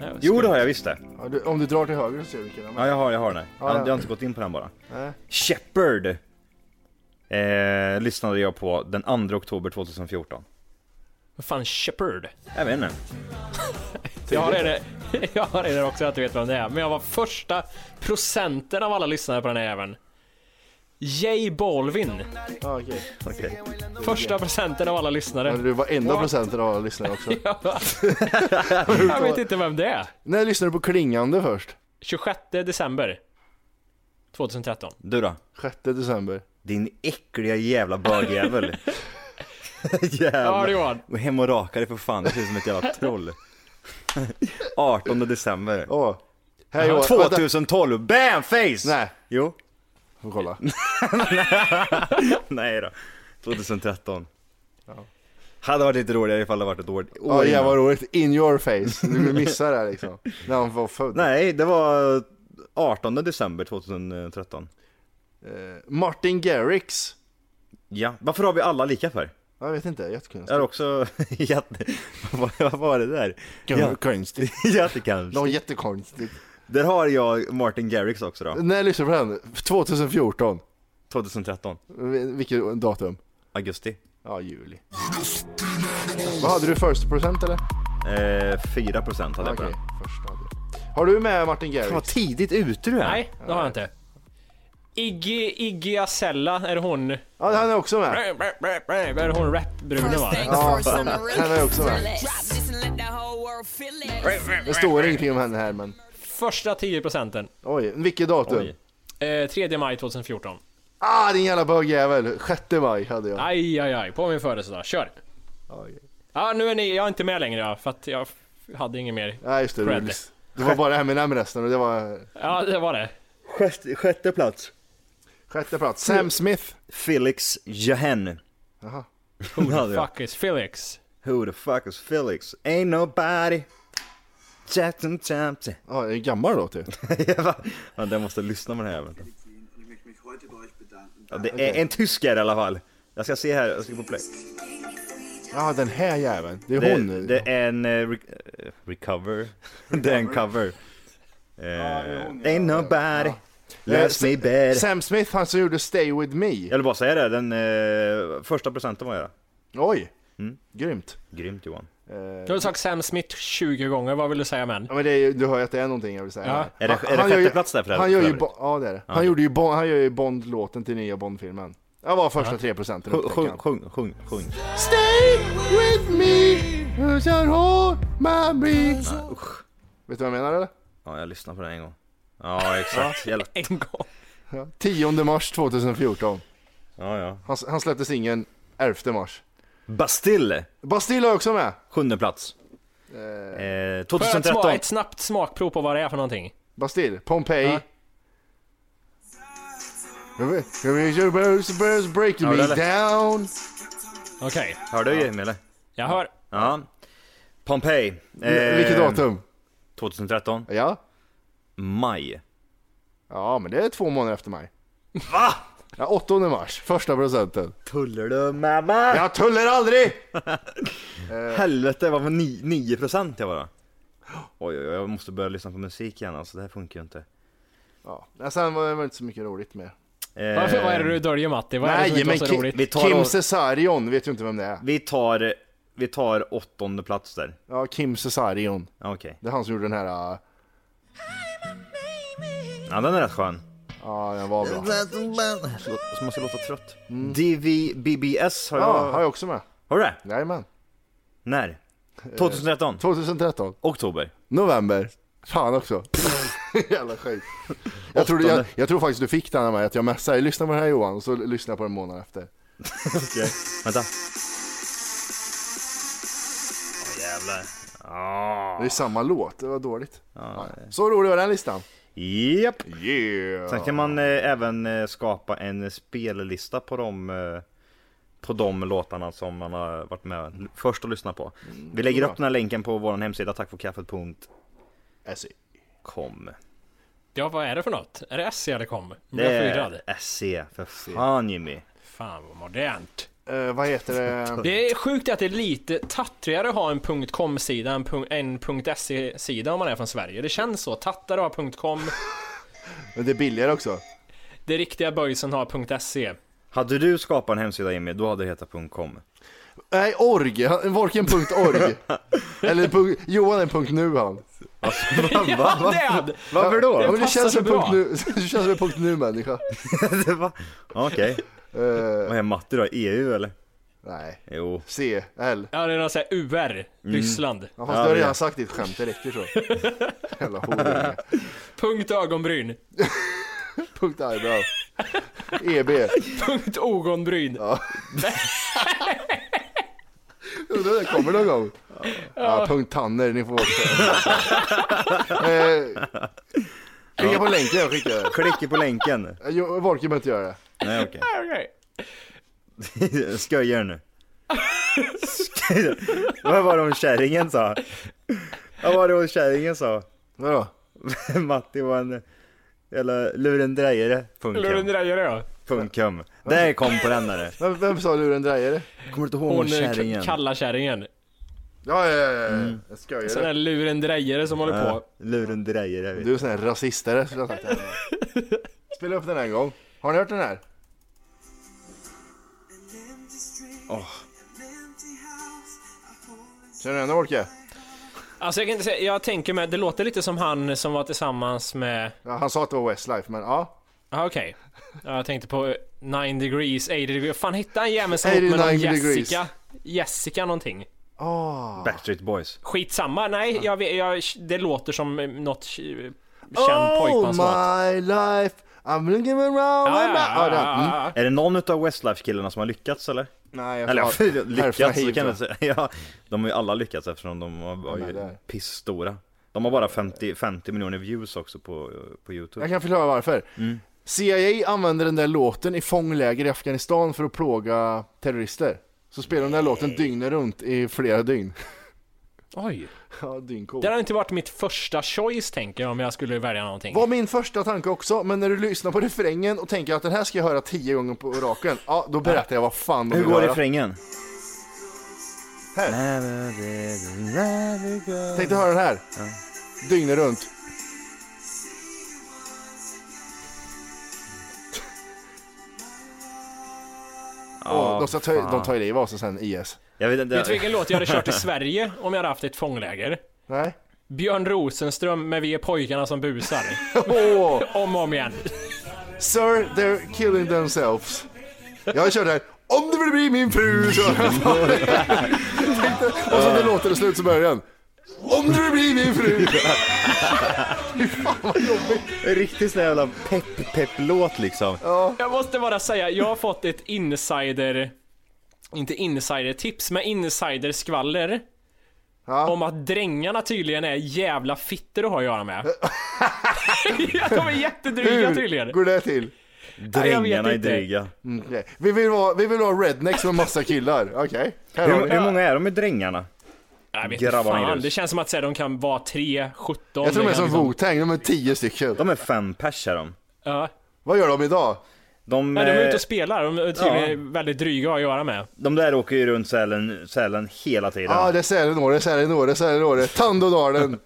[SPEAKER 3] Nej,
[SPEAKER 6] Jo det har jag visst det.
[SPEAKER 2] Ja, du, om du drar till höger så ser du vilken det är.
[SPEAKER 6] Ja jag har, jag har den. Jag,
[SPEAKER 2] ja.
[SPEAKER 6] jag har inte gått in på den bara.
[SPEAKER 2] Nej.
[SPEAKER 6] Shepard! Eh, lyssnade jag på den 2 oktober 2014.
[SPEAKER 3] Vad fan, Shepard?
[SPEAKER 6] Jag vet inte.
[SPEAKER 3] Jag har, redan, (laughs) jag har redan också att du vet vem det är, men jag var första procenten av alla lyssnare på den här även. J Balvin.
[SPEAKER 2] Ja, okej.
[SPEAKER 6] Okej.
[SPEAKER 3] Första procenten av alla lyssnare.
[SPEAKER 2] Men Du var enda procenten av alla lyssnare också.
[SPEAKER 3] Jag vet inte vem det är.
[SPEAKER 2] När lyssnade du på Klingande först?
[SPEAKER 3] 26 december 2013.
[SPEAKER 6] Du då?
[SPEAKER 2] 6 december.
[SPEAKER 6] Din äckliga
[SPEAKER 2] (laughs)
[SPEAKER 6] jävla bögjävel.
[SPEAKER 3] Ja,
[SPEAKER 6] jävlar.
[SPEAKER 3] det var
[SPEAKER 6] Gå hem och raka dig för fan, det ser ut som ett jävla troll. (laughs) 18 december.
[SPEAKER 2] Åh. Här Johan. Vänta.
[SPEAKER 6] 2012, bam face!
[SPEAKER 2] Nej,
[SPEAKER 6] Jo.
[SPEAKER 2] får
[SPEAKER 6] (laughs)
[SPEAKER 2] kolla.
[SPEAKER 6] Nej då. 2013. Hade varit lite roligare ifall det varit ett år, år
[SPEAKER 2] Ja jävlar
[SPEAKER 6] innan.
[SPEAKER 2] vad roligt. In your face. Du missar det här
[SPEAKER 6] (laughs)
[SPEAKER 2] liksom. När han var född.
[SPEAKER 6] Nej, det var 18 december 2013.
[SPEAKER 2] Eh, Martin Garrix.
[SPEAKER 6] Ja, varför har vi alla lika för?
[SPEAKER 2] Jag vet inte, jättekul.
[SPEAKER 6] Jag är också (laughs) jätte... vad, vad var det där? Ja, (laughs)
[SPEAKER 2] Konstigt. Något
[SPEAKER 6] jättekonstigt.
[SPEAKER 2] jättekonstigt.
[SPEAKER 6] Där har jag Martin Garrix också då.
[SPEAKER 2] När lyssnade du på den? 2014.
[SPEAKER 6] 2013,
[SPEAKER 2] Vi- Vilket datum?
[SPEAKER 6] augusti.
[SPEAKER 2] Ja, juli. Vad hade du? First percent eller?
[SPEAKER 6] Eh, 4% hade jag på
[SPEAKER 2] Okej,
[SPEAKER 6] den.
[SPEAKER 2] första hade du. Har du med Martin
[SPEAKER 6] Fan, Vad
[SPEAKER 2] Garrix?
[SPEAKER 6] tidigt ute du är!
[SPEAKER 3] Nej, det har jag inte. Iggy, Iggy Azella, är det hon...
[SPEAKER 2] Ja, han är också med.
[SPEAKER 3] Är det hon rapbruden va?
[SPEAKER 2] Ja, han är också med. Det står ingenting om henne här men.
[SPEAKER 3] Första 10 procenten.
[SPEAKER 2] Oj, vilket datum?
[SPEAKER 6] Oj.
[SPEAKER 3] Eh, 3 maj 2014.
[SPEAKER 2] Ah din jävla bögjävel! 6 maj hade jag.
[SPEAKER 3] Aj, aj, aj. På min födelsedag. Kör!
[SPEAKER 2] Oj.
[SPEAKER 3] Ja, nu är ni... Jag är inte med längre ja, för att jag hade inget mer.
[SPEAKER 2] Nej just det,
[SPEAKER 3] Fred.
[SPEAKER 2] Rulis. Det var bara Eminem resten och det var...
[SPEAKER 3] Ja, det var det.
[SPEAKER 6] Sjätte, sjätte plats.
[SPEAKER 2] Sjätte plats, Sam Smith.
[SPEAKER 6] Felix Jahen. (laughs)
[SPEAKER 2] Jaha.
[SPEAKER 6] Who the
[SPEAKER 3] fuck is Felix?
[SPEAKER 6] Who the fuck is Felix? Ain't nobody. Jackson Thompson. (laughs)
[SPEAKER 2] Ja, det är gammal typ? låt ju.
[SPEAKER 6] ja, den måste lyssna med den här jäveln. Ja, det är en tysker i alla fall. Jag ska se här, jag ska på play.
[SPEAKER 2] Ja, den här jäveln. Det är hon.
[SPEAKER 6] Det är en... eh, re- eh, recover? (laughs) det är en cover. Eh, Ain't nobody. Loves me better.
[SPEAKER 2] Sam Smith, han som gjorde Stay With Me.
[SPEAKER 6] Jag vill bara säga det, den eh, första presenten var jag.
[SPEAKER 2] Oj,
[SPEAKER 6] Mm.
[SPEAKER 2] grymt.
[SPEAKER 6] Grymt Johan.
[SPEAKER 3] Du har sagt Sam Smith 20 gånger, vad vill du säga med
[SPEAKER 2] Ja, men det är ju, du hör ju att det är någonting jag vill säga.
[SPEAKER 3] Ja.
[SPEAKER 2] Han-
[SPEAKER 6] Är det- är
[SPEAKER 2] han
[SPEAKER 6] det sjätte
[SPEAKER 2] gör ju-
[SPEAKER 6] plats där för
[SPEAKER 2] Han
[SPEAKER 6] övrigt?
[SPEAKER 2] gör ju, Bo- ja det är det.
[SPEAKER 6] Ja,
[SPEAKER 2] Han,
[SPEAKER 6] okej.
[SPEAKER 2] gjorde ju bon, han gör ju Bond-låten till nya Bond-filmen. Jag var första
[SPEAKER 6] Ja.
[SPEAKER 2] 3 procenten
[SPEAKER 6] Sjung, sjung, sjung, sjung, sjung.
[SPEAKER 2] Stay with me, you shall hold my breath. Ah, Vet du vad jag menar eller?
[SPEAKER 6] Ja, jag lyssnar på den en gång. Ja, exakt. Jävla...
[SPEAKER 3] En gång.
[SPEAKER 2] 10 mars 2014.
[SPEAKER 6] Ja, ja.
[SPEAKER 2] Han, s- han släppte singeln 11 mars.
[SPEAKER 6] Bastille,
[SPEAKER 2] Bastille är också med.
[SPEAKER 6] sjunde plats. Eh, 2013.
[SPEAKER 3] Ett snabbt smakprov på vad det är för någonting.
[SPEAKER 2] Bastille, Pompeji.
[SPEAKER 3] Ja.
[SPEAKER 2] Break
[SPEAKER 6] Ja, det
[SPEAKER 2] me
[SPEAKER 6] är lätt.
[SPEAKER 2] down.
[SPEAKER 3] Okej,
[SPEAKER 6] Hör du Jimmy eller?
[SPEAKER 3] jag hör.
[SPEAKER 2] Eh.
[SPEAKER 6] Ja. Pompeji. Eh,
[SPEAKER 2] Vilket datum?
[SPEAKER 6] 2013.
[SPEAKER 2] Ja.
[SPEAKER 6] Maj.
[SPEAKER 2] Ja, men det är två månader efter mig.
[SPEAKER 6] Va?
[SPEAKER 2] Ja, 8 mars, första procenten.
[SPEAKER 6] Tullar du mamma?
[SPEAKER 2] Jag tullar aldrig!
[SPEAKER 6] Helvete, vad var ni- 9% jag var då? Oj, oj, oj, jag måste börja lyssna på musik igen alltså, det här funkar ju inte.
[SPEAKER 2] Ja, men sen var det väl inte så mycket roligt mer.
[SPEAKER 6] Eh,
[SPEAKER 3] Varför, vad är det du döljer Matti? Vad är det som
[SPEAKER 2] Nej,
[SPEAKER 3] inte var
[SPEAKER 2] men
[SPEAKER 3] så
[SPEAKER 2] Kim,
[SPEAKER 3] roligt?
[SPEAKER 6] Vi tar
[SPEAKER 2] Kim
[SPEAKER 6] oss-
[SPEAKER 2] Cesarion vet ju inte vem det är.
[SPEAKER 6] Vi tar, vi tar åttonde plats där.
[SPEAKER 2] Ja, Kim Cesarion.
[SPEAKER 6] Ja, Okej.
[SPEAKER 2] Det är han som gjorde den här... äh,
[SPEAKER 6] Ja, den är rätt skön.
[SPEAKER 2] Ja, den var bra.
[SPEAKER 6] Lå- Som måste låta trött. DVBBS har jag...
[SPEAKER 2] Ja, har jag också med.
[SPEAKER 6] Har du det?
[SPEAKER 2] Jajamän.
[SPEAKER 6] När? 2013?
[SPEAKER 2] 2013.
[SPEAKER 6] Oktober?
[SPEAKER 2] November. Fan också. (laughs) Jävla skit. Jag tror, jag, jag tror faktiskt du fick den av mig, att jag messade lyssna på den här Johan, och så lyssnade jag på den en månad efter.
[SPEAKER 6] Okej, vänta. Åh jävlar.
[SPEAKER 2] Det är samma låt, det var dåligt.
[SPEAKER 6] Ja.
[SPEAKER 2] Så rolig var den listan.
[SPEAKER 6] Japp.
[SPEAKER 2] Yeah!
[SPEAKER 6] Sen kan man eh, även eh, skapa en spellista på de, eh, på de låtarna som man har varit med l- först och lyssnat på. Vi lägger upp den här länken på vår hemsida tackforkaffet.com.
[SPEAKER 2] Alltså,
[SPEAKER 3] Ja, vad är det för något? Är det SC eller kom?
[SPEAKER 6] Det
[SPEAKER 3] Det är...
[SPEAKER 6] är SE, E, för fan Jimmy.
[SPEAKER 3] Fan vad modernt.
[SPEAKER 2] Eh, vad heter det?
[SPEAKER 3] Det är sjukt att det är lite tattrigare att ha en .com-sida än punkt- en .se-sida om man är från Sverige. Det känns så. Tattare har .com,
[SPEAKER 2] Men det är billigare också.
[SPEAKER 3] det riktiga böjsen har .se.
[SPEAKER 6] Hade du skapat en hemsida Jimmy, då hade det hetat (laughs) .com.
[SPEAKER 2] Nej, org. Han- Varken punkt .org. Eller punkt, Johan är punkt .nu han.
[SPEAKER 3] Ja, det är det!
[SPEAKER 6] Varför
[SPEAKER 2] Ja,
[SPEAKER 6] då?
[SPEAKER 2] men du
[SPEAKER 3] passar
[SPEAKER 2] känns som
[SPEAKER 3] så
[SPEAKER 2] punkt
[SPEAKER 3] bra.
[SPEAKER 2] .nu, (laughs) du känns som en punkt .nu människa.
[SPEAKER 6] Det var- (laughs) Okej,
[SPEAKER 2] Eh,
[SPEAKER 6] vad är matte då? EU eller?
[SPEAKER 2] nej.
[SPEAKER 6] Jo.
[SPEAKER 2] C, L.
[SPEAKER 3] Ja, det är någon sån här UR, Ryssland.
[SPEAKER 2] Mm. Ja, fast du har redan sagt ditt skämt, det räcker
[SPEAKER 3] (laughs)
[SPEAKER 2] så. Jävla horunge.
[SPEAKER 3] Punkt ögonbryn.
[SPEAKER 2] Punkt eyebrow. EB.
[SPEAKER 3] Punkt ogonbryn.
[SPEAKER 2] Undrar om det kommer någon gång. Ja, punkt Tanner, ni får också. Eh, Klicka på länken jag skickade.
[SPEAKER 6] Klicka på länken.
[SPEAKER 2] Eh, Jo, Varken behöver inte göra det.
[SPEAKER 6] Nej okej.
[SPEAKER 3] Okej.
[SPEAKER 6] (laughs) Skojar nu? Skojar. Vad var det hon kärringen sa? Vad var det hon kärringen sa? (laughs)
[SPEAKER 2] Vadå?
[SPEAKER 6] Matti var en jävla lurendrejare. Punkt com.
[SPEAKER 3] Lurendrejare ja.
[SPEAKER 6] Punkt com. Där kom på den där.
[SPEAKER 2] Vem, vem sa lurendrejare?
[SPEAKER 6] Kommer du inte
[SPEAKER 3] Hon
[SPEAKER 6] ihåg hon
[SPEAKER 3] eh,
[SPEAKER 6] kärringen?
[SPEAKER 3] k- kalla kärringen.
[SPEAKER 2] Ja, ja, ja, ja.
[SPEAKER 3] Mm.
[SPEAKER 2] Jag skojar.
[SPEAKER 3] Sån här lurendrejare som håller på.
[SPEAKER 6] Lurendrejare. vet
[SPEAKER 2] Du är sån här rasistare skulle jag ha sagt. Spela upp den här en gång. Har ni hört den här? Känner du igen den Orke?
[SPEAKER 3] Alltså jag kan inte säga, jag tänker mig, det låter lite som han som var tillsammans med...
[SPEAKER 2] Ja, han sa att det var Westlife, men ja.
[SPEAKER 3] Ja okej. Ja, jag tänkte på eh, 9 degrees, 80 degrees. Fan hittade han jäveln som
[SPEAKER 2] 80
[SPEAKER 3] ihop med någon
[SPEAKER 2] degrees.
[SPEAKER 3] Jessica? Jessica någonting.
[SPEAKER 2] Åh.
[SPEAKER 6] Backstreet Boys.
[SPEAKER 3] Skitsamma, nej jag, vet- jag, det låter som eh, något eh, känd
[SPEAKER 2] Oh
[SPEAKER 3] pojkmanslåt.
[SPEAKER 2] my life, I'm looking around
[SPEAKER 3] Ja,
[SPEAKER 2] my...
[SPEAKER 3] ja, ja,
[SPEAKER 2] den.
[SPEAKER 3] ja,
[SPEAKER 2] Mm.
[SPEAKER 3] ja, ja.
[SPEAKER 6] Är det någon utav Westlife-killarna som har lyckats eller?
[SPEAKER 2] Nej, jag
[SPEAKER 6] Eller
[SPEAKER 2] tror- Hälften
[SPEAKER 6] (laughs) lyckats, så
[SPEAKER 2] hit,
[SPEAKER 6] kan
[SPEAKER 2] va?
[SPEAKER 6] jag säga. Ja, de har ju alla lyckats eftersom de har- var
[SPEAKER 2] Ja, men
[SPEAKER 6] ju
[SPEAKER 2] där.
[SPEAKER 6] pissstora. De har bara 50, 50 miljoner views också på, på
[SPEAKER 2] Jag
[SPEAKER 6] Youtube. Mm.
[SPEAKER 2] kan förklara varför. CIA använde den där låten i fångläger i Afghanistan för att plåga terrorister. Så spelade de den där låten dygnet runt i flera dygn.
[SPEAKER 3] Oj.
[SPEAKER 2] (laughs) Ja, dyngcool.
[SPEAKER 3] Det hade inte varit mitt första choice tänker jag om jag skulle välja någonting.
[SPEAKER 2] Var min första tanke också, men när du lyssnar på refrängen och tänker att den här ska jag höra tio gånger på raken, ja då berättar jag vad fan de
[SPEAKER 6] Hur
[SPEAKER 2] vill
[SPEAKER 6] går
[SPEAKER 2] höra.
[SPEAKER 6] refrängen?
[SPEAKER 2] Här. Tänk dig höra den här. Dygnet runt.
[SPEAKER 6] Ja,
[SPEAKER 2] Åh, de, ska ta,
[SPEAKER 6] fan.
[SPEAKER 2] de tar ju det i vasen sen, IS.
[SPEAKER 6] Jag vet inte.
[SPEAKER 3] Vet du vilken låt jag hade
[SPEAKER 2] (laughs)
[SPEAKER 3] kört i Sverige om jag hade haft ett fångläger?
[SPEAKER 2] Nej.
[SPEAKER 3] Björn Rosenström med Vi är pojkarna som busar.
[SPEAKER 2] Åh,
[SPEAKER 3] om och om igen.
[SPEAKER 2] sir, they're killing themselves. Jag kör det här. Om du vill bli min fru
[SPEAKER 6] (laughs)
[SPEAKER 2] så... och så när låten är slut så börjar den. Om du vill bli min
[SPEAKER 6] (laughs)
[SPEAKER 2] fru.
[SPEAKER 6] Riktigt sån här jävla pepp-pepp-låt liksom.
[SPEAKER 3] Jag måste bara säga, jag har fått ett insider... Inte insidertips, men insiderskvaller. Om att drängarna tydligen är jävla fitter att ha att
[SPEAKER 2] (laughs)
[SPEAKER 3] göra med. de är jättedryga
[SPEAKER 2] Hur
[SPEAKER 3] tydligen.
[SPEAKER 2] går det till?
[SPEAKER 6] Drängarna är
[SPEAKER 3] inte.
[SPEAKER 6] dryga.
[SPEAKER 2] Mm, okej. vi, vill vara, vi vill vara rednecks med massa killar. Okej, här har
[SPEAKER 6] Hur,
[SPEAKER 2] vi.
[SPEAKER 6] hur många är de i drängarna?
[SPEAKER 3] Jag vet inte
[SPEAKER 6] Grabbarna i
[SPEAKER 3] fan,
[SPEAKER 6] grus.
[SPEAKER 3] det känns som att säga, de kan vara 3, 17.
[SPEAKER 2] Jag tror de är
[SPEAKER 3] kan
[SPEAKER 2] som
[SPEAKER 3] liksom-
[SPEAKER 2] Wu-Tang, de är tio stycken.
[SPEAKER 6] De är fem pers är de.
[SPEAKER 3] Ja.
[SPEAKER 2] Vad gör de idag?
[SPEAKER 6] De,
[SPEAKER 3] Nej, de är
[SPEAKER 6] eh,
[SPEAKER 3] ute och spelar, de är tydligen väldigt dryga att ha att göra med.
[SPEAKER 6] de där åker ju runt Sälen, sälen hela tiden.
[SPEAKER 2] Ja, ah, det är Sälenåre, Sälenåre, Sälenåre, Tandådalen.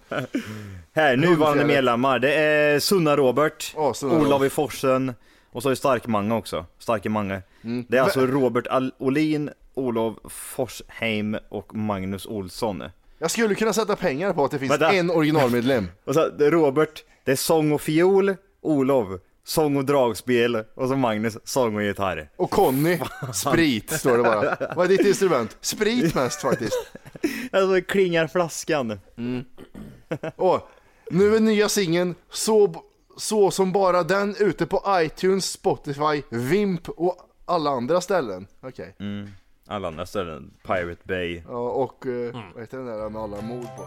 [SPEAKER 6] här, nuvarande
[SPEAKER 2] Lundfjärden.
[SPEAKER 6] medlemmar. Det är Sunna Robert,
[SPEAKER 2] Ja, Sunna
[SPEAKER 6] Olav
[SPEAKER 2] Robert.
[SPEAKER 6] i Forsen och så är Stark Mange också. Starke Mange. Det är alltså Robert Al- Olin, Olof Forsheim och Magnus Olsson.
[SPEAKER 2] Jag skulle kunna sätta pengar på att det finns
[SPEAKER 6] Vänta.
[SPEAKER 2] en originalmedlem.
[SPEAKER 6] Och så, det är Robert, det är sång och fiol, Olof, sång och dragspel och så Magnus, sång och gitarr.
[SPEAKER 2] Och Conny, sprit står det bara. Vad är ditt instrument? Sprit mest faktiskt.
[SPEAKER 6] Alltså det klingar flaskan.
[SPEAKER 2] Åh, nu är nya singeln så, så som bara den ute på iTunes, Spotify, Vimp och alla andra ställen. Okej.
[SPEAKER 6] Alla andra ställen, Pirate Bay.
[SPEAKER 2] Ja, och eh, vad heter den där med alla mord på?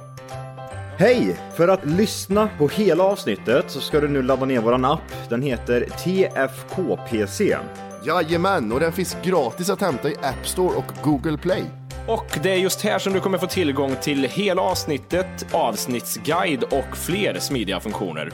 [SPEAKER 6] Hej! För att lyssna på hela avsnittet så ska du nu ladda ner våran app. Den heter TFKPC.
[SPEAKER 2] Jajamän, och den finns gratis att hämta i App Store och Google Play.
[SPEAKER 3] Och det är just här som du kommer få tillgång till hela avsnittet, avsnittsguide och fler smidiga funktioner.